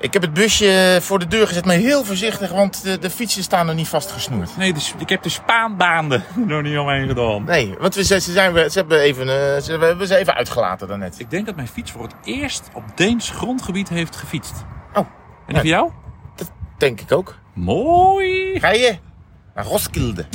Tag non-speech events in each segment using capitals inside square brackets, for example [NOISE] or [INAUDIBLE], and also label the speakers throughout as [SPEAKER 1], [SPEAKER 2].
[SPEAKER 1] Ik heb het busje voor de deur gezet, maar heel voorzichtig, want de, de fietsen staan nog niet vastgesnoerd.
[SPEAKER 2] Nee, dus, ik heb de Spaanbaanden [LAUGHS] er nog niet omheen gedaan.
[SPEAKER 1] Nee, want we, ze, ze zijn, we- ze hebben even, eh, ze, we hebben ze even uitgelaten daarnet.
[SPEAKER 2] Ik denk dat mijn fiets voor het eerst op Deens grondgebied heeft gefietst.
[SPEAKER 1] Oh,
[SPEAKER 2] En die
[SPEAKER 1] Ja.
[SPEAKER 2] voor jou?
[SPEAKER 1] dat denk ik ook.
[SPEAKER 2] Mooi!
[SPEAKER 1] Ga je naar Roskilde?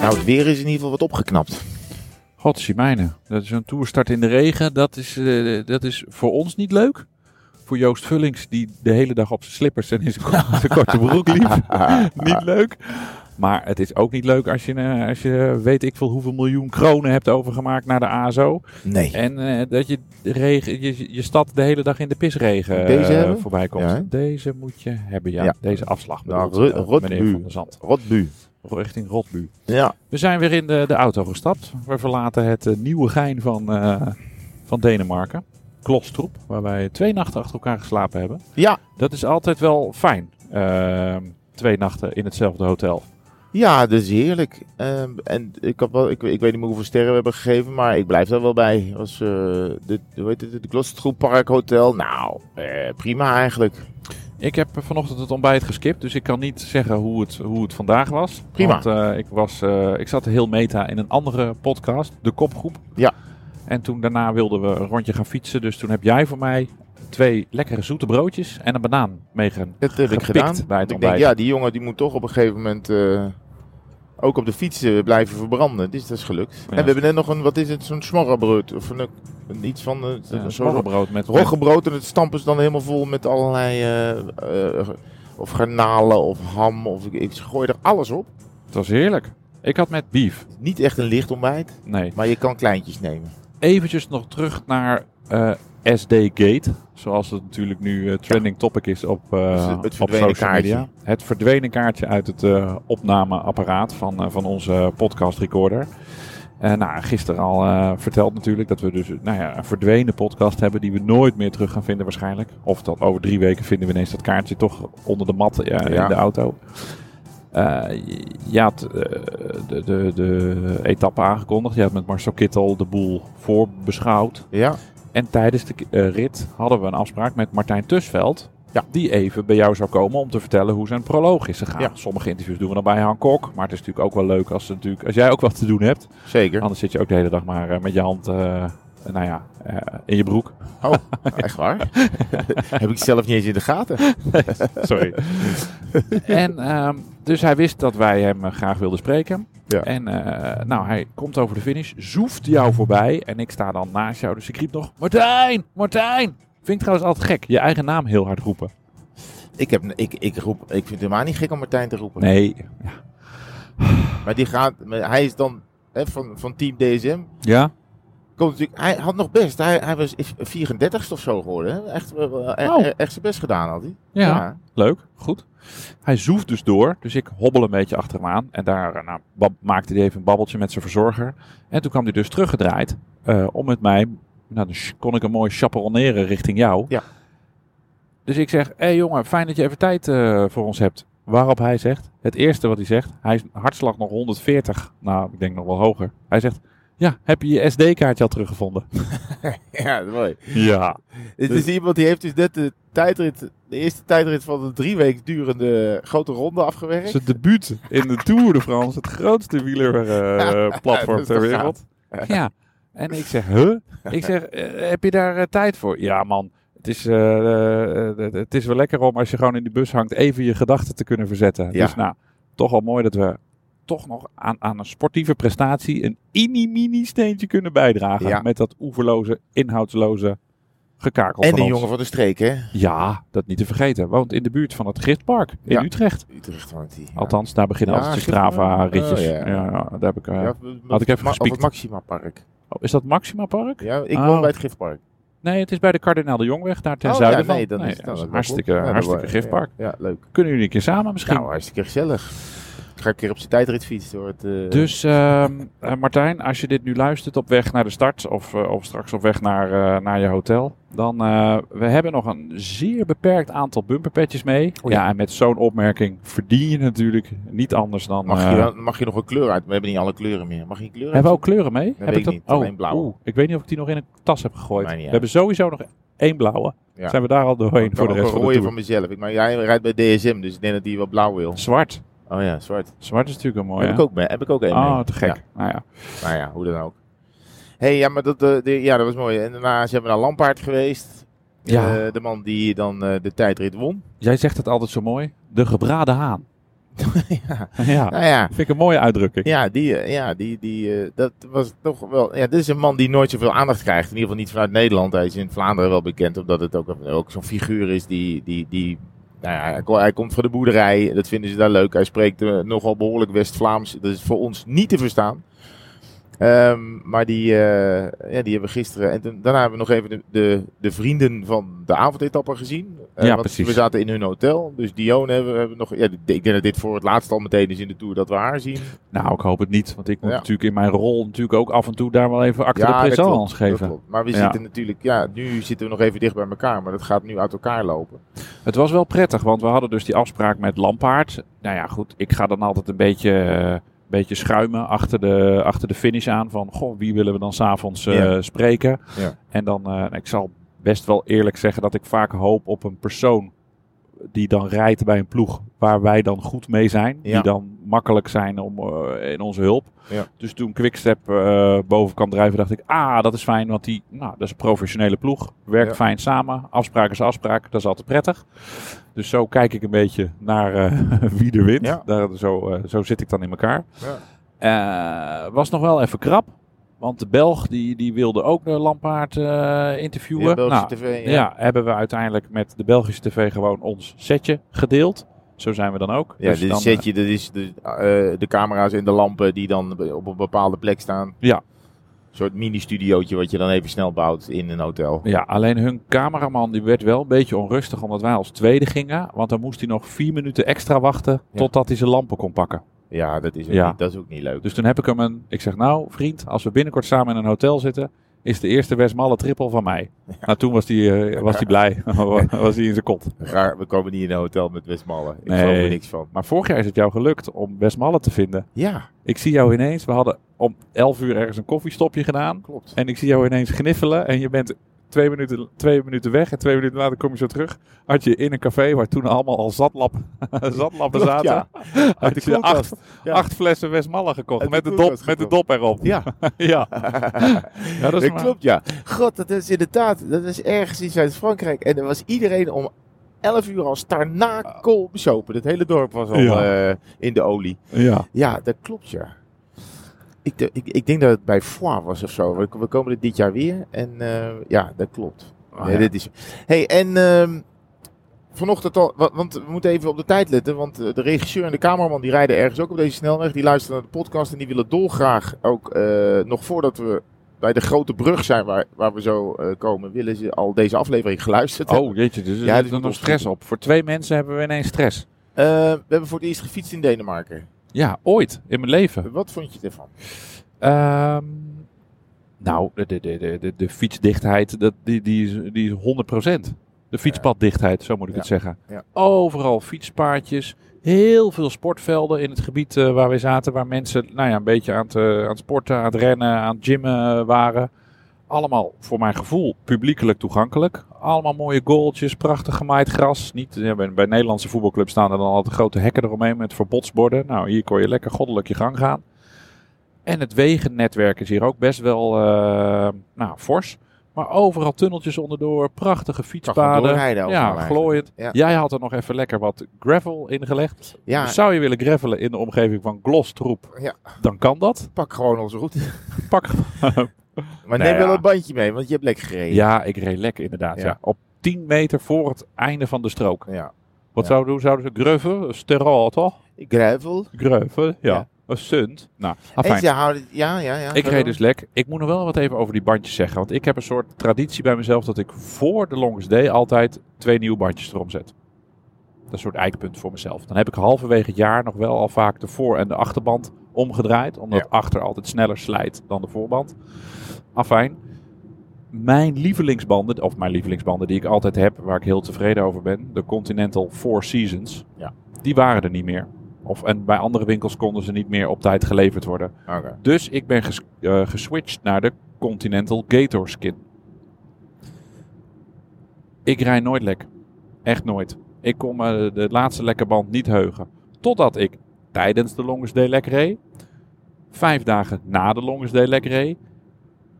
[SPEAKER 1] Nou, het weer is in ieder geval wat opgeknapt.
[SPEAKER 2] Godzimijne. Dat is een toerstart in de regen. Dat is, eh, dat is voor ons niet leuk. Voor Joost Vullings, die de hele dag op zijn slippers en in zijn ko- [LAUGHS] zijn korte broek liep. niet leuk. Maar het is ook niet leuk als je, eh, als je weet ik veel hoeveel miljoen kronen hebt overgemaakt naar de ASO.
[SPEAKER 1] Nee.
[SPEAKER 2] En eh, dat je, de regen, je je stad de hele dag in de pisregen eh,
[SPEAKER 1] Deze hebben?
[SPEAKER 2] voorbij komt.
[SPEAKER 1] Ja, hè?
[SPEAKER 2] Deze moet je hebben, ja.
[SPEAKER 1] Ja.
[SPEAKER 2] Deze afslag
[SPEAKER 1] Nou,
[SPEAKER 2] bedoelt,
[SPEAKER 1] Ru-
[SPEAKER 2] eh,
[SPEAKER 1] Rotbu.
[SPEAKER 2] meneer Van der Zand.
[SPEAKER 1] Rotbu.
[SPEAKER 2] Richting Rotbu.
[SPEAKER 1] Ja.
[SPEAKER 2] We zijn weer in de, de auto gestapt. We verlaten het eh, nieuwe gein van, eh, van Denemarken. Klostroep, waar wij twee nachten achter elkaar geslapen hebben.
[SPEAKER 1] Ja.
[SPEAKER 2] Dat is altijd wel fijn. ehm, twee nachten in hetzelfde hotel.
[SPEAKER 1] Ja, dat is heerlijk. Ehm, en ik, had wel, ik, ik weet niet meer hoeveel sterren we hebben gegeven, maar ik blijf daar wel bij. Het Was, eh de, hoe heet het, de Glostertroep Park Hotel. Nou, eh, prima eigenlijk.
[SPEAKER 2] Ik heb vanochtend het ontbijt geskipt, dus ik kan niet zeggen hoe het, hoe het vandaag was.
[SPEAKER 1] Prima.
[SPEAKER 2] Want eh, ik, was, eh, ik zat heel meta in een andere podcast, de kopgroep.
[SPEAKER 1] Ja.
[SPEAKER 2] En toen daarna wilden we een rondje gaan fietsen, dus toen heb jij voor mij twee lekkere zoete broodjes en een banaan meegegaan.
[SPEAKER 1] Dat heb ik
[SPEAKER 2] Gepikt
[SPEAKER 1] gedaan.
[SPEAKER 2] bij het
[SPEAKER 1] ik denk,
[SPEAKER 2] ontbijt.
[SPEAKER 1] ja, die jongen die moet toch op een gegeven moment eh, ook op de fiets eh, blijven verbranden. Dus dat is gelukt. En we hebben net nog een, wat is het, zo'n smorrebrood. Of een, een iets van, eh,
[SPEAKER 2] Ja,
[SPEAKER 1] zo'n
[SPEAKER 2] smorrebrood met
[SPEAKER 1] Roggebrood en het stampen is dan helemaal vol met allerlei... eh, eh, of garnalen of ham. Of, ik, ik gooi er alles op.
[SPEAKER 2] Het was heerlijk. Ik had met beef.
[SPEAKER 1] Niet echt een licht ontbijt.
[SPEAKER 2] Nee.
[SPEAKER 1] Maar je kan kleintjes nemen.
[SPEAKER 2] Eventjes nog terug naar eh, SD Gate. Zoals het natuurlijk nu eh, trending topic is op, eh,
[SPEAKER 1] Dus het- het
[SPEAKER 2] op
[SPEAKER 1] verdwenen
[SPEAKER 2] social media.
[SPEAKER 1] kaartje.
[SPEAKER 2] Het verdwenen kaartje uit het eh, opnameapparaat van, eh, van onze podcast recorder. Eh nou, gisteren al eh, verteld natuurlijk dat we dus nou ja, een verdwenen podcast hebben die we nooit meer terug gaan vinden waarschijnlijk. Of dat over drie weken vinden we ineens dat kaartje toch onder de mat eh,
[SPEAKER 1] Ja.
[SPEAKER 2] in de auto. Eh, je had eh, de, de, de etappe aangekondigd. Je had met Marcel Kittel de boel voorbeschouwd.
[SPEAKER 1] Ja,
[SPEAKER 2] En tijdens de eh, rit hadden we een afspraak met Martijn Tusveld.
[SPEAKER 1] Ja.
[SPEAKER 2] Die even bij jou zou komen om te vertellen hoe zijn proloog is gegaan.
[SPEAKER 1] Ja.
[SPEAKER 2] Sommige interviews doen we dan bij Han Kok. Maar het is natuurlijk ook wel leuk als, ze natuurlijk, als jij ook wat te doen hebt.
[SPEAKER 1] zeker.
[SPEAKER 2] Anders zit je ook de hele dag maar eh, met je hand eh, nou ja, eh, in je broek.
[SPEAKER 1] Oh, echt waar? [LAUGHS] Heb ik zelf niet eens in de gaten.
[SPEAKER 2] Sorry. en ehm, dus hij wist dat wij hem eh, graag wilden spreken.
[SPEAKER 1] Ja.
[SPEAKER 2] En eh, nou, hij komt over de finish, zoeft jou voorbij. En ik sta dan naast jou, dus ik riep nog: Martijn, Martijn! Vind ik trouwens altijd gek, je eigen naam heel hard roepen.
[SPEAKER 1] Ik, heb, ik, ik, roep, ik vind het helemaal niet gek om Martijn te roepen.
[SPEAKER 2] Nee.
[SPEAKER 1] Maar die gaat, maar hij is dan hè, van, van Team DSM.
[SPEAKER 2] Ja?
[SPEAKER 1] Komt natuurlijk, hij had nog best. Hij, hij was 34 of zo geworden. Hè? Echt, wel- wel- e-
[SPEAKER 2] Oh.
[SPEAKER 1] e- echt zijn best gedaan had hij.
[SPEAKER 2] Ja. Leuk, goed. Hij zoeft dus door, dus ik hobbel een beetje achter hem aan. En daar eh, nou, bab- maakte hij even een babbeltje met zijn verzorger. En toen kwam hij dus teruggedraaid eh, om met mij... Nou, dan sh- kon ik hem mooi chaperoneren richting jou.
[SPEAKER 1] Ja.
[SPEAKER 2] Dus ik zeg, hé jongen, fijn dat je even tijd eh, voor ons hebt. Waarop hij zegt, het eerste wat hij zegt, hij is hartslag nog 140, nou ik denk nog wel hoger. Hij zegt, ja, heb je je SD-kaartje al teruggevonden?
[SPEAKER 1] Ja, [LAUGHS] dat is mooi.
[SPEAKER 2] Ja.
[SPEAKER 1] Het is iemand die heeft dus net de, tijdrit, de eerste tijdrit van de drie weken durende grote ronde afgewerkt.
[SPEAKER 2] Zijn debuut in de Tour de France, het grootste wielerplatform
[SPEAKER 1] Dat [LAUGHS] is
[SPEAKER 2] ter
[SPEAKER 1] toch
[SPEAKER 2] wereld. Ja, en ik zeg, huh? Ik zeg, eh, heb je daar eh, tijd voor? Ja man, het is, eh, eh, het is wel lekker om als je gewoon in die bus hangt even je gedachten te kunnen verzetten.
[SPEAKER 1] Ja.
[SPEAKER 2] Dus nou, toch wel mooi dat we toch nog aan, aan een sportieve prestatie een mini-mini steentje kunnen bijdragen.
[SPEAKER 1] Ja.
[SPEAKER 2] Met dat oeverloze, inhoudsloze gekakel
[SPEAKER 1] En
[SPEAKER 2] van
[SPEAKER 1] de
[SPEAKER 2] ons.
[SPEAKER 1] jongen van de streek, hè?
[SPEAKER 2] Ja, dat niet te vergeten. Woont in de buurt van het Giftpark in
[SPEAKER 1] Ja.
[SPEAKER 2] Utrecht.
[SPEAKER 1] Utrecht woont hij. ja.
[SPEAKER 2] Althans, daar beginnen
[SPEAKER 1] Ja,
[SPEAKER 2] altijd de
[SPEAKER 1] Gifford.
[SPEAKER 2] Strava-ritjes.
[SPEAKER 1] Oh,
[SPEAKER 2] ja.
[SPEAKER 1] ja.
[SPEAKER 2] ja, daar heb ik... eh,
[SPEAKER 1] Ja, of het-
[SPEAKER 2] had ik even
[SPEAKER 1] ma- of
[SPEAKER 2] gespiekt.
[SPEAKER 1] het Maxima Park.
[SPEAKER 2] oh, is dat Maxima Park?
[SPEAKER 1] Ja, ik
[SPEAKER 2] Oh.
[SPEAKER 1] woon bij het Gifpark.
[SPEAKER 2] Nee, het is bij de Kardinaal de Jongweg, daar ten
[SPEAKER 1] Oh,
[SPEAKER 2] zuiden
[SPEAKER 1] ja, nee,
[SPEAKER 2] van.
[SPEAKER 1] dan
[SPEAKER 2] Nee,
[SPEAKER 1] is het
[SPEAKER 2] dat is
[SPEAKER 1] wel
[SPEAKER 2] een hartstikke,
[SPEAKER 1] goed. Ja, dat
[SPEAKER 2] hartstikke
[SPEAKER 1] wordt-
[SPEAKER 2] Giffpark.
[SPEAKER 1] Ja, ja, leuk.
[SPEAKER 2] Kunnen jullie een keer samen misschien?
[SPEAKER 1] Nou, hartstikke gezellig. Ik ga een keer op zijn tijdrit fietsen hoor. Het, eh,
[SPEAKER 2] Dus ehm, eh, Martijn, als je dit nu luistert op weg naar de start of, eh, of straks op weg naar, eh, naar je hotel, dan eh, we hebben nog een zeer beperkt aantal bumperpetjes mee.
[SPEAKER 1] Oh ja.
[SPEAKER 2] ja. en met zo'n opmerking verdien je natuurlijk niet anders dan.
[SPEAKER 1] mag, je
[SPEAKER 2] eh,
[SPEAKER 1] dan, mag je nog een kleur uit? We hebben niet alle kleuren meer. Mag je een kleur uit?
[SPEAKER 2] Hebben we ook kleuren mee? heb
[SPEAKER 1] weet ik
[SPEAKER 2] dat? oh,
[SPEAKER 1] niet, alleen blauwe.
[SPEAKER 2] Oeh, ik weet niet of ik die nog in een tas heb gegooid.
[SPEAKER 1] Maakt niet uit.
[SPEAKER 2] We hebben sowieso nog één blauwe.
[SPEAKER 1] Ja.
[SPEAKER 2] Zijn we daar al doorheen
[SPEAKER 1] Ik
[SPEAKER 2] voor de
[SPEAKER 1] kan
[SPEAKER 2] rest
[SPEAKER 1] ook
[SPEAKER 2] van
[SPEAKER 1] een
[SPEAKER 2] de
[SPEAKER 1] rode
[SPEAKER 2] tour?
[SPEAKER 1] van mezelf. Ik, maar jij rijdt bij DSM, dus ik denk dat hij wel blauw wil.
[SPEAKER 2] Zwart.
[SPEAKER 1] Oh ja, zwart.
[SPEAKER 2] Zwart is natuurlijk een mooie.
[SPEAKER 1] Heb ik ook, mee- heb ik ook één
[SPEAKER 2] Oh,
[SPEAKER 1] mee.
[SPEAKER 2] te gek.
[SPEAKER 1] Ja,
[SPEAKER 2] Nou ja.
[SPEAKER 1] nou ja, hoe dan ook. hey, ja, maar dat, eh, de- ja, dat was mooi. En daarna zijn we naar Lampaard geweest.
[SPEAKER 2] Ja.
[SPEAKER 1] Eh, de man die dan eh, de tijdrit won. [LAUGHS]
[SPEAKER 2] Jij zegt het altijd zo mooi. De gebraden haan.
[SPEAKER 1] ja.
[SPEAKER 2] [LAUGHS] ja.
[SPEAKER 1] Nou ja,
[SPEAKER 2] Vind ik een mooie uitdrukking.
[SPEAKER 1] ja, die, eh, ja die, die, eh, dat was toch wel... Ja, dit is een man die nooit zoveel aandacht krijgt. In ieder geval niet vanuit Nederland. Hij is in Vlaanderen wel bekend, omdat het ook, eh, ook zo'n figuur is die... die, die nou ja, hij ko- hij komt van de boerderij, dat vinden ze daar leuk. Hij spreekt eh, nogal behoorlijk West-Vlaams. Dat is voor ons niet te verstaan. Ehm, maar die, eh, ja, die hebben we gisteren. En toen- daarna hebben we nog even de, de, de vrienden van de avondetappe gezien. Eh,
[SPEAKER 2] Ja,
[SPEAKER 1] want
[SPEAKER 2] precies.
[SPEAKER 1] We zaten in hun hotel. Dus Dione hebben we hebben we nog. Ja, d- ik denk dat dit voor het laatst al meteen is in de tour dat we haar zien.
[SPEAKER 2] Nou, ik hoop het niet. Want ik moet
[SPEAKER 1] Ja.
[SPEAKER 2] natuurlijk in mijn rol natuurlijk ook af en toe daar wel even achter de
[SPEAKER 1] dat klopt,
[SPEAKER 2] présence
[SPEAKER 1] dat
[SPEAKER 2] geven.
[SPEAKER 1] klopt. Maar we
[SPEAKER 2] Ja.
[SPEAKER 1] zitten natuurlijk. Ja, nu zitten we nog even dicht bij elkaar. Maar dat gaat nu uit elkaar lopen.
[SPEAKER 2] Het was wel prettig, want we hadden dus die afspraak met Lampaard. Nou ja, goed, ik ga dan altijd een beetje, eh, beetje schuimen achter de, achter de finish aan. Van, goh, wie willen we dan s'avonds eh
[SPEAKER 1] Ja.
[SPEAKER 2] spreken?
[SPEAKER 1] Ja.
[SPEAKER 2] En dan, eh, ik zal best wel eerlijk zeggen dat ik vaak hoop op een persoon die dan rijdt bij een ploeg waar wij dan goed mee zijn.
[SPEAKER 1] Ja.
[SPEAKER 2] Die dan makkelijk zijn om, eh, in onze hulp.
[SPEAKER 1] Ja.
[SPEAKER 2] Dus toen Quickstep eh boven kwam drijven, dacht ik, ah, dat is fijn. Want die, nou, dat is een professionele ploeg. Werkt
[SPEAKER 1] Ja.
[SPEAKER 2] fijn samen. Afspraak is afspraak. Dat is altijd prettig. Dus zo kijk ik een beetje naar eh, [LAUGHS] wie er wint.
[SPEAKER 1] Ja.
[SPEAKER 2] Daar, zo, eh, zo zit ik dan in elkaar.
[SPEAKER 1] Ja.
[SPEAKER 2] Eh, was nog wel even krap. Want de Belg die, die wilde ook de Lampaard eh, interviewen.
[SPEAKER 1] Ja, Belgische
[SPEAKER 2] Nou,
[SPEAKER 1] TV.
[SPEAKER 2] ja.
[SPEAKER 1] Ja.
[SPEAKER 2] hebben we uiteindelijk met de Belgische tv gewoon ons setje gedeeld. Zo zijn we dan ook.
[SPEAKER 1] Ja,
[SPEAKER 2] Dus
[SPEAKER 1] dit
[SPEAKER 2] dan,
[SPEAKER 1] setje, dat is de, eh, de camera's en de lampen die dan be- op een bepaalde plek staan.
[SPEAKER 2] Ja.
[SPEAKER 1] Een soort mini-studiootje wat je dan even snel bouwt in een hotel.
[SPEAKER 2] eh, ja, alleen hun cameraman die werd wel een beetje onrustig omdat wij als tweede gingen. Want dan moest hij nog vier minuten extra wachten
[SPEAKER 1] Ja.
[SPEAKER 2] totdat hij zijn lampen kon pakken.
[SPEAKER 1] Ja, dat is ook,
[SPEAKER 2] Ja.
[SPEAKER 1] Niet, dat is ook niet leuk.
[SPEAKER 2] Dus toen heb ik hem een... Ik zeg, nou vriend, als we binnenkort samen in een hotel zitten... Is de eerste Westmalle trippel van mij. Nou, toen was hij eh, was hij
[SPEAKER 1] [LAUGHS]
[SPEAKER 2] blij. [LAUGHS] was hij in zijn kont.
[SPEAKER 1] Raar, we komen niet in een hotel met Westmallen. Ik
[SPEAKER 2] Nee.
[SPEAKER 1] geloof er niks van.
[SPEAKER 2] Maar vorig jaar is het jou gelukt om Westmalle te vinden.
[SPEAKER 1] Ja,
[SPEAKER 2] Ik zie jou ineens, we hadden om 11 uur ergens een koffiestopje gedaan.
[SPEAKER 1] klopt.
[SPEAKER 2] En ik zie jou ineens gniffelen en je bent twee minuten, twee minuten weg. En twee minuten later kom je zo terug. Had je in een café waar toen allemaal al zatlap, [LAUGHS] zatlappen
[SPEAKER 1] Klopt,
[SPEAKER 2] zaten.
[SPEAKER 1] ja. Uit de
[SPEAKER 2] Had je
[SPEAKER 1] koelkast,
[SPEAKER 2] acht,
[SPEAKER 1] ja.
[SPEAKER 2] acht flessen Westmalle gekocht.
[SPEAKER 1] Uit de
[SPEAKER 2] Met de, dop,
[SPEAKER 1] koelkast
[SPEAKER 2] met de
[SPEAKER 1] gekocht. [LAUGHS]
[SPEAKER 2] dop erop.
[SPEAKER 1] Ja,
[SPEAKER 2] ja. ja, dat
[SPEAKER 1] dat,
[SPEAKER 2] is maar-
[SPEAKER 1] klopt, ja. God, dat is inderdaad, dat is ergens in Zuid-Frankrijk. En er was iedereen om 11 uur al starnakel bezopen. Het hele dorp was al
[SPEAKER 2] Ja.
[SPEAKER 1] eh, in de olie.
[SPEAKER 2] Ja.
[SPEAKER 1] Ja, dat klopt, ja. Ik, de- ik, ik denk dat het bij Foix was of zo. We, we komen dit dit jaar weer. En eh, ja, dat klopt.
[SPEAKER 2] Oh,
[SPEAKER 1] Nee,
[SPEAKER 2] ja.
[SPEAKER 1] dit is... hey, en ehm, vanochtend al... wa- Want we moeten even op de tijd letten. Want eh, de regisseur en de cameraman die rijden ergens ook op deze snelweg. Die luisteren naar de podcast en die willen dolgraag ook eh, nog voordat we bij de grote brug zijn waar, waar we zo eh, komen... willen ze al deze aflevering geluisterd hebben.
[SPEAKER 2] Oh jeetje, dus er
[SPEAKER 1] Ja,
[SPEAKER 2] zit
[SPEAKER 1] dit
[SPEAKER 2] er
[SPEAKER 1] moet
[SPEAKER 2] nog stress op. Voor twee mensen hebben we ineens stress.
[SPEAKER 1] Eh, we hebben voor het eerst gefietst in Denemarken.
[SPEAKER 2] Ja, ooit in mijn leven.
[SPEAKER 1] Wat vond je ervan?
[SPEAKER 2] Ehm, nou, de, de, de, de, de, de fietsdichtheid, dat, die, die, is, die is 100%. De fietspaddichtheid, zo moet ik
[SPEAKER 1] Ja.
[SPEAKER 2] het zeggen.
[SPEAKER 1] Ja.
[SPEAKER 2] Overal fietspaadjes, heel veel sportvelden in het gebied eh, waar wij zaten, waar mensen nou ja, een beetje aan het, eh, aan het sporten, aan het rennen, aan het gymmen eh, waren. Allemaal, voor mijn gevoel, publiekelijk toegankelijk. Allemaal mooie goaltjes, prachtig gemaaid gras. Niet, ja, bij, bij Nederlandse voetbalclubs staan er dan altijd grote hekken eromheen met verbodsborden. Nou, hier kon je lekker goddelijk je gang gaan. En het wegennetwerk is hier ook best wel eh, nou, fors. Maar overal tunneltjes onderdoor, prachtige
[SPEAKER 1] Kan gewoon
[SPEAKER 2] fietspaden.
[SPEAKER 1] doorrijden overal
[SPEAKER 2] Ja,
[SPEAKER 1] eigenlijk.
[SPEAKER 2] glooiend.
[SPEAKER 1] Ja.
[SPEAKER 2] Jij had er nog even lekker wat gravel ingelegd.
[SPEAKER 1] Ja,
[SPEAKER 2] Zou je willen gravelen in de omgeving van Glostroep,
[SPEAKER 1] Ja.
[SPEAKER 2] dan kan dat.
[SPEAKER 1] pak gewoon onze route. [LAUGHS]
[SPEAKER 2] Pak. [LAUGHS]
[SPEAKER 1] Maar
[SPEAKER 2] Nou
[SPEAKER 1] neem wel
[SPEAKER 2] ja.
[SPEAKER 1] een bandje mee, want je hebt lekker gereden.
[SPEAKER 2] ja, ik reed lekker inderdaad. Ja.
[SPEAKER 1] Ja.
[SPEAKER 2] Op 10 meter voor het einde van de strook.
[SPEAKER 1] ja.
[SPEAKER 2] Wat
[SPEAKER 1] Ja.
[SPEAKER 2] zouden, hoe zouden ze greuven? Sterol, toch?
[SPEAKER 1] Gravel.
[SPEAKER 2] Greuven, ja.
[SPEAKER 1] Ja.
[SPEAKER 2] Een sunt. Nou,
[SPEAKER 1] En
[SPEAKER 2] afijn.
[SPEAKER 1] ze houden... Ja, ja, ja.
[SPEAKER 2] Ik
[SPEAKER 1] Gravel.
[SPEAKER 2] reed dus lek. Ik moet nog wel wat even over die bandjes zeggen. Want ik heb een soort traditie bij mezelf dat ik voor de Longest Day altijd twee nieuwe bandjes erom zet. een soort eikpunt voor mezelf. Dan heb ik halverwege het jaar nog wel al vaak de voor- en de achterband omgedraaid. Omdat
[SPEAKER 1] Ja.
[SPEAKER 2] achter altijd sneller slijt dan de voorband. Afijn. Mijn lievelingsbanden, of mijn lievelingsbanden die ik altijd heb, waar ik heel tevreden over ben. De Continental Four Seasons.
[SPEAKER 1] Ja.
[SPEAKER 2] Die waren er niet meer. Of, en bij andere winkels konden ze niet meer op tijd geleverd worden.
[SPEAKER 1] Oké.
[SPEAKER 2] Dus ik ben ges- eh, geswitcht naar de Continental Gator skin. Ik rij nooit lek. Echt nooit. Ik kon me de laatste lekke band niet heugen. Totdat ik tijdens de Longest Day lek reed. Vijf dagen na de Longest Day lek reed.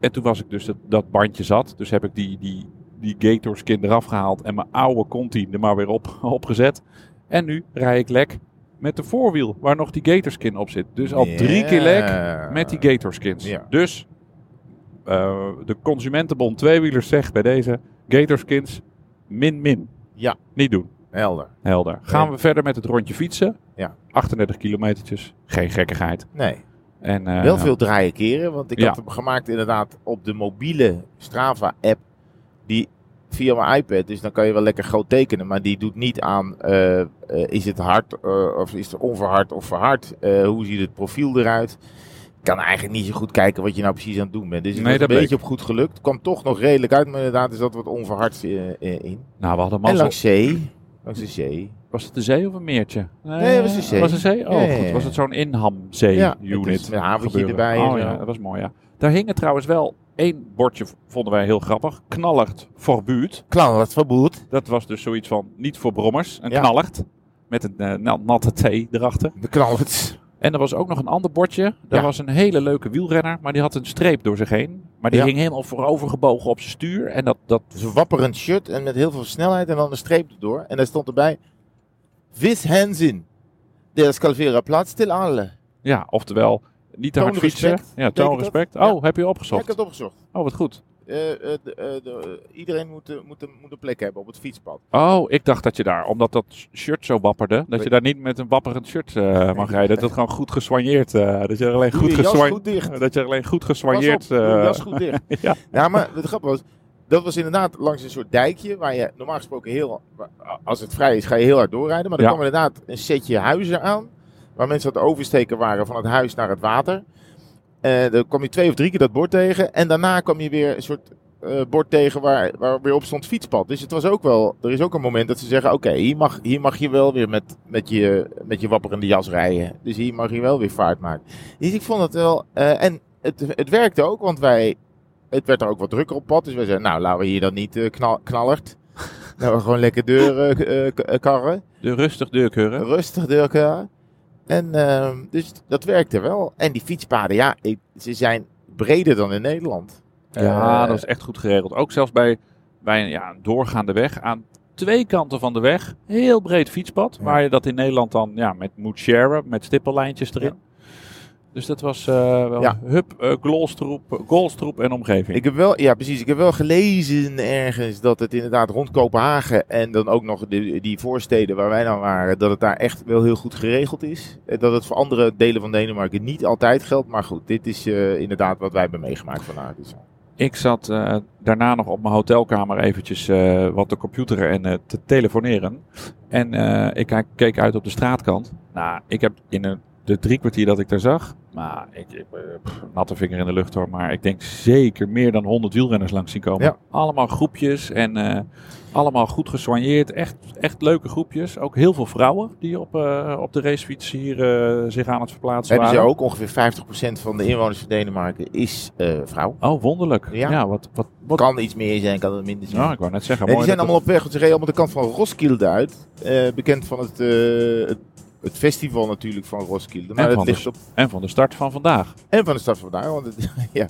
[SPEAKER 2] En toen was ik dus dat, dat bandje zat. Dus heb ik die, die, die Gator skin eraf gehaald. En mijn oude Conti er maar weer op, [LAUGHS] opgezet. En nu rij ik lek met de voorwiel. Waar nog die Gator skin op zit. Dus al drie keer lek.
[SPEAKER 1] Ja.
[SPEAKER 2] Met die Gatorskins.
[SPEAKER 1] Ja.
[SPEAKER 2] Dus eh, de Consumentenbond Tweewielers zegt bij deze Gatorskins min min.
[SPEAKER 1] Ja.
[SPEAKER 2] Niet doen.
[SPEAKER 1] Helder.
[SPEAKER 2] Helder. Gaan
[SPEAKER 1] Ja.
[SPEAKER 2] we verder met het rondje fietsen.
[SPEAKER 1] Ja.
[SPEAKER 2] 38 kilometertjes. Geen gekkigheid.
[SPEAKER 1] Nee.
[SPEAKER 2] En, eh,
[SPEAKER 1] Wel veel draaien keren, want ik
[SPEAKER 2] Ja.
[SPEAKER 1] had hem gemaakt inderdaad op de mobiele Strava-app. Die via mijn iPad, dus dan kan je wel lekker groot tekenen. Maar die doet niet aan, eh, eh, is het hard eh, of is het onverhard of verhard? Eh, hoe ziet het profiel eruit? Ik kan eigenlijk niet zo goed kijken wat je nou precies aan het doen bent. Dus het
[SPEAKER 2] Nee,
[SPEAKER 1] was
[SPEAKER 2] dat
[SPEAKER 1] een beetje op goed gelukt. Het kwam toch nog redelijk uit, maar inderdaad is dat wat onverhards eh, eh, in.
[SPEAKER 2] Nou, we hadden
[SPEAKER 1] en
[SPEAKER 2] mazzel.
[SPEAKER 1] langs zee, langs de zee.
[SPEAKER 2] Was het de zee of een meertje?
[SPEAKER 1] Nee, het was de zee.
[SPEAKER 2] Was het een zee? Oh,
[SPEAKER 1] Ja, ja, ja.
[SPEAKER 2] goed. Was het zo'n inhamzee
[SPEAKER 1] Ja, het
[SPEAKER 2] unit
[SPEAKER 1] is met een haventje
[SPEAKER 2] gebeuren?
[SPEAKER 1] erbij en
[SPEAKER 2] Oh ja,
[SPEAKER 1] zo.
[SPEAKER 2] dat was mooi, ja. Daar hingen trouwens wel één bordje, vonden wij heel grappig. Knallert verbuurd.
[SPEAKER 1] Klaar, dat verboet.
[SPEAKER 2] Dat was dus zoiets van niet voor brommers, een
[SPEAKER 1] Ja.
[SPEAKER 2] knallert. Met een eh, na- natte thee erachter.
[SPEAKER 1] De knallers.
[SPEAKER 2] En er was ook nog een ander bordje. Daar
[SPEAKER 1] Ja.
[SPEAKER 2] was een hele leuke wielrenner, maar die had een streep door zich heen. Maar die
[SPEAKER 1] Ja.
[SPEAKER 2] hing helemaal voorover gebogen op zijn stuur. En dat, dat
[SPEAKER 1] Dus een wapperend shirt en met heel veel snelheid en dan een streep erdoor. En daar stond erbij, vis hands in. Der Calvera plaats til alle.
[SPEAKER 2] ja, oftewel, niet te hard fietsen.
[SPEAKER 1] Toonrespect.
[SPEAKER 2] Ja,
[SPEAKER 1] Betekent
[SPEAKER 2] toonrespect.
[SPEAKER 1] dat? Ja.
[SPEAKER 2] Oh, heb je
[SPEAKER 1] Ja, ik
[SPEAKER 2] opgezocht?
[SPEAKER 1] heb het opgezocht.
[SPEAKER 2] Oh, wat goed.
[SPEAKER 1] Eh, eh, de- eh, de- eh, iedereen moet, eh, moet, een, moet een plek hebben op het fietspad.
[SPEAKER 2] Oh, ik dacht dat je daar, omdat dat shirt zo wapperde, dat je
[SPEAKER 1] Nee.
[SPEAKER 2] daar niet met een wapperend shirt eh, mag rijden. Dat het gewoon goed geswanjeerd, eh, dat je er alleen
[SPEAKER 1] Doe
[SPEAKER 2] goed
[SPEAKER 1] je jas
[SPEAKER 2] geswan-
[SPEAKER 1] goed dicht.
[SPEAKER 2] Dat je er alleen goed
[SPEAKER 1] Pas op,
[SPEAKER 2] geswanjeerd...
[SPEAKER 1] doe je
[SPEAKER 2] eh,
[SPEAKER 1] jas goed dicht.
[SPEAKER 2] [LAUGHS] ja.
[SPEAKER 1] Ja, maar het grappige was, dat was inderdaad langs een soort dijkje waar je normaal gesproken heel, als het vrij is, ga je heel hard doorrijden. Maar er
[SPEAKER 2] Ja.
[SPEAKER 1] kwam inderdaad een setje huizen aan, waar mensen aan het oversteken waren van het huis naar het water. Eh daar kwam je twee of drie keer dat bord tegen en daarna kwam je weer een soort eh, bord tegen waar, waar weer op stond fietspad. Dus het was ook wel, er is ook een moment dat ze zeggen, oké, hier, mag, hier mag je wel weer met, met, je, met je wapperende jas rijden. Dus hier mag je wel weer vaart maken. Dus ik vond het wel, eh, en het, het werkte ook, want wij, het werd er ook wat drukker op pad. Dus we zeiden, nou, laten we hier dan niet eh, knal,
[SPEAKER 2] [LAUGHS]
[SPEAKER 1] knallert. Laten we gewoon lekker deuren eh, k- eh, karren.
[SPEAKER 2] De rustig deurkeuren.
[SPEAKER 1] Rustig deuren karren. En ehm, dus dat werkte wel. En die fietspaden, ja, ik- ze zijn breder dan in Nederland.
[SPEAKER 2] Ja,
[SPEAKER 1] Eh,
[SPEAKER 2] dat is echt goed geregeld. Ook zelfs bij, bij een, ja, een doorgaande weg. Aan twee kanten van de weg. Heel breed fietspad.
[SPEAKER 1] Ja.
[SPEAKER 2] Waar je dat in Nederland dan ja, met moet sharen. Met stippellijntjes erin. Dus dat was eh, wel
[SPEAKER 1] Ja.
[SPEAKER 2] hup, eh golstroep, golstroep en omgeving.
[SPEAKER 1] Ik heb wel, ja, precies. Ik heb wel gelezen ergens dat het inderdaad rond Kopenhagen en dan ook nog de, die voorsteden waar wij dan waren, dat het daar echt wel heel goed geregeld is. Eh, Dat het voor andere delen van Denemarken niet altijd geldt. Maar goed, dit is eh, inderdaad wat wij hebben meegemaakt vandaag. Dus,
[SPEAKER 2] Ik zat eh, daarna nog op mijn hotelkamer eventjes eh, wat te computeren en eh, te telefoneren. En eh, ik kijk- keek uit op de straatkant. Nou, ik heb in een- de drie kwartier dat ik daar zag, maar ik, ik, eh, pff, natte vinger in de lucht hoor, maar ik denk zeker meer dan 100 wielrenners langs zien komen.
[SPEAKER 1] Ja.
[SPEAKER 2] Allemaal groepjes en eh, allemaal goed gesoigneerd. Echt, echt leuke groepjes. Ook heel veel vrouwen die op, eh, op de racefiets hier eh, zich aan het verplaatsen
[SPEAKER 1] Hebben ze
[SPEAKER 2] waren.
[SPEAKER 1] ook ongeveer 50% van de inwoners van Denemarken is eh, vrouw.
[SPEAKER 2] Oh, wonderlijk. Ja,
[SPEAKER 1] Ja.
[SPEAKER 2] wat, wat, wat...
[SPEAKER 1] Kan iets meer zijn, kan het minder zijn.
[SPEAKER 2] Ja, ik wou net zeggen.
[SPEAKER 1] en die
[SPEAKER 2] mooi
[SPEAKER 1] zijn
[SPEAKER 2] dat het-
[SPEAKER 1] allemaal op weg, want ze reden allemaal de kant van Roskilde uit. Eh, bekend van het, eh, het, het festival natuurlijk van Roskilde. Maar
[SPEAKER 2] En
[SPEAKER 1] het
[SPEAKER 2] van de
[SPEAKER 1] ligt op,
[SPEAKER 2] En van de start van vandaag.
[SPEAKER 1] en van de stad vandaan. Want het, [LAUGHS] ja.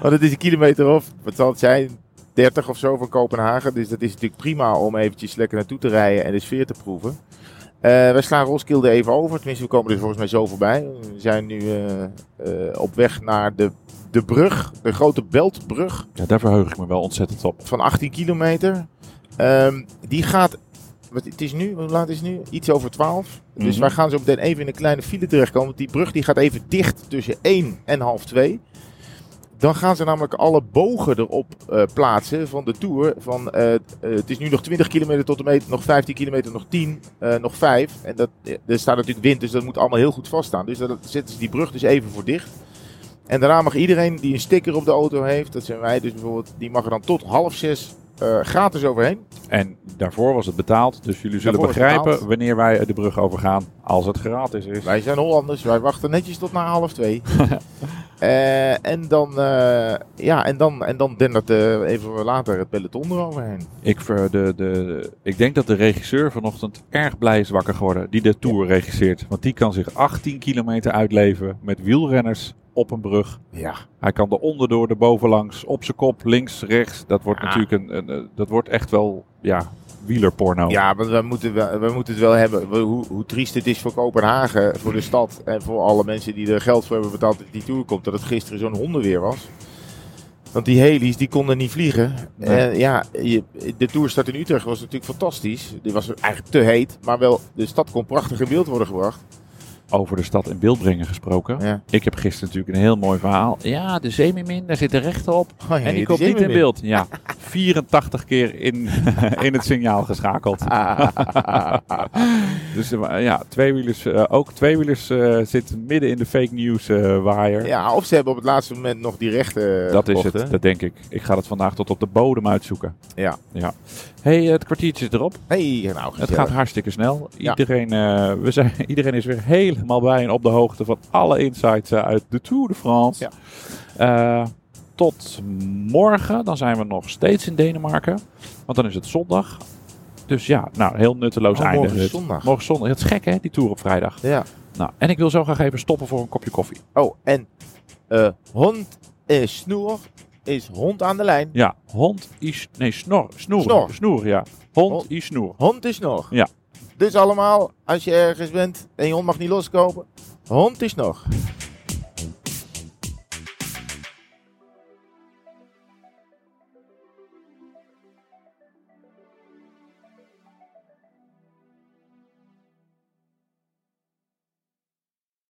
[SPEAKER 1] want het is een kilometer of, wat zal het zijn, 30 of zo van Kopenhagen. Dus dat is natuurlijk prima om eventjes lekker naartoe te rijden en de sfeer te proeven. Eh we slaan Roskilde even over. Tenminste, we komen er volgens mij zo voorbij. We zijn nu eh, eh, op weg naar de, de brug, de grote Beltbrug
[SPEAKER 2] Ja, daar verheug ik me wel ontzettend op.
[SPEAKER 1] van 18 kilometer. Ehm, die gaat. Wat, het is nu, hoe laat is het nu? Iets over 12. Dus
[SPEAKER 2] Mhm.
[SPEAKER 1] wij gaan zo meteen even in een kleine file terechtkomen. Want die brug die gaat even dicht tussen 1 en half 2. Dan gaan ze namelijk alle bogen erop eh, plaatsen van de Tour. Van, eh, eh, het is nu nog 20 kilometer tot de meter, nog 15 kilometer, nog 10, eh, nog 5. En dat, eh, er staat natuurlijk wind, dus dat moet allemaal heel goed vaststaan. Dus daar zetten ze die brug dus even voor dicht. En daarna mag iedereen die een sticker op de auto heeft, dat zijn wij dus bijvoorbeeld, die mag er dan tot half zes eh, gratis overheen.
[SPEAKER 2] En daarvoor was het betaald, dus jullie zullen
[SPEAKER 1] Daarvoor was het
[SPEAKER 2] begrijpen
[SPEAKER 1] betaald.
[SPEAKER 2] wanneer wij de brug overgaan als het gratis is.
[SPEAKER 1] Wij zijn Hollanders, wij wachten netjes tot na half twee. Eh, en dan, eh ja, en dan, en dan dendert eh, even later het peloton eroverheen.
[SPEAKER 2] Ik, ver- de, de, ik denk dat de regisseur vanochtend erg blij is wakker geworden die de Tour regisseert. Want die kan zich 18 kilometer uitleven met wielrenners op een brug.
[SPEAKER 1] Ja,
[SPEAKER 2] Hij kan de onderdoor, de bovenlangs, op zijn kop, links, rechts. Dat wordt
[SPEAKER 1] Ja.
[SPEAKER 2] natuurlijk een, een, eh, dat wordt echt wel ja, wielerporno.
[SPEAKER 1] ja maar we moeten, wel, we moeten het wel hebben. We- hoe, hoe triest het is voor Kopenhagen, voor de stad en voor alle mensen die er geld voor hebben betaald dat die tour komt. Dat het gisteren zo'n hondenweer was. Want die heli's, die konden niet vliegen.
[SPEAKER 2] Nee.
[SPEAKER 1] Eh, ja, je- de toerstart in Utrecht was natuurlijk fantastisch. Die was eigenlijk te heet, maar wel, de stad kon prachtig in beeld worden gebracht.
[SPEAKER 2] Over de stad in beeld brengen gesproken.
[SPEAKER 1] Ja.
[SPEAKER 2] Ik heb gisteren natuurlijk een heel mooi verhaal. Ja, de Zeemermin, daar zit de rechter op.
[SPEAKER 1] Oh, ja,
[SPEAKER 2] en die
[SPEAKER 1] is
[SPEAKER 2] komt niet in
[SPEAKER 1] helemaal
[SPEAKER 2] beeld.
[SPEAKER 1] [LAUGHS]
[SPEAKER 2] Ja, 84 keer in, in het signaal
[SPEAKER 1] [LAUGHS]
[SPEAKER 2] geschakeld. dus eh, maar, ja, tweewielers, eh, ook tweewielers eh zitten midden in de fake news eh, waaier.
[SPEAKER 1] Ja, of ze hebben op het laatste moment nog die rechten.
[SPEAKER 2] dat is
[SPEAKER 1] gekocht,
[SPEAKER 2] het,
[SPEAKER 1] hè?
[SPEAKER 2] dat denk ik. Ik ga het vandaag tot op de bodem uitzoeken.
[SPEAKER 1] Ja.
[SPEAKER 2] ja. hey, het kwartiertje zit erop.
[SPEAKER 1] Hey, nou,
[SPEAKER 2] Het
[SPEAKER 1] gezellig.
[SPEAKER 2] gaat hartstikke snel.
[SPEAKER 1] Ja.
[SPEAKER 2] Iedereen, eh, we zijn, [LAUGHS] iedereen is weer helemaal bij en op de hoogte van alle insights eh, uit de Tour de France.
[SPEAKER 1] Ja.
[SPEAKER 2] Eh, tot morgen, dan zijn we nog steeds in Denemarken. Want dan is het zondag. Dus ja, nou, heel nutteloos
[SPEAKER 1] Oh,
[SPEAKER 2] einde.
[SPEAKER 1] morgen is
[SPEAKER 2] dit.
[SPEAKER 1] zondag.
[SPEAKER 2] Morgen is zondag. Het is gek hè, die Tour op vrijdag.
[SPEAKER 1] Ja.
[SPEAKER 2] Nou, en ik wil zo graag even stoppen voor een kopje koffie.
[SPEAKER 1] Oh, en eh, hond is snoer, is hond aan de lijn.
[SPEAKER 2] Ja, hond is... Nee, snor. Snoer.
[SPEAKER 1] Snor.
[SPEAKER 2] Snoer, ja. Hond,
[SPEAKER 1] Hond.
[SPEAKER 2] is snoer.
[SPEAKER 1] Hond is nog.
[SPEAKER 2] Ja.
[SPEAKER 1] Dus allemaal, als je ergens bent en je hond mag niet loskopen, hond is nog.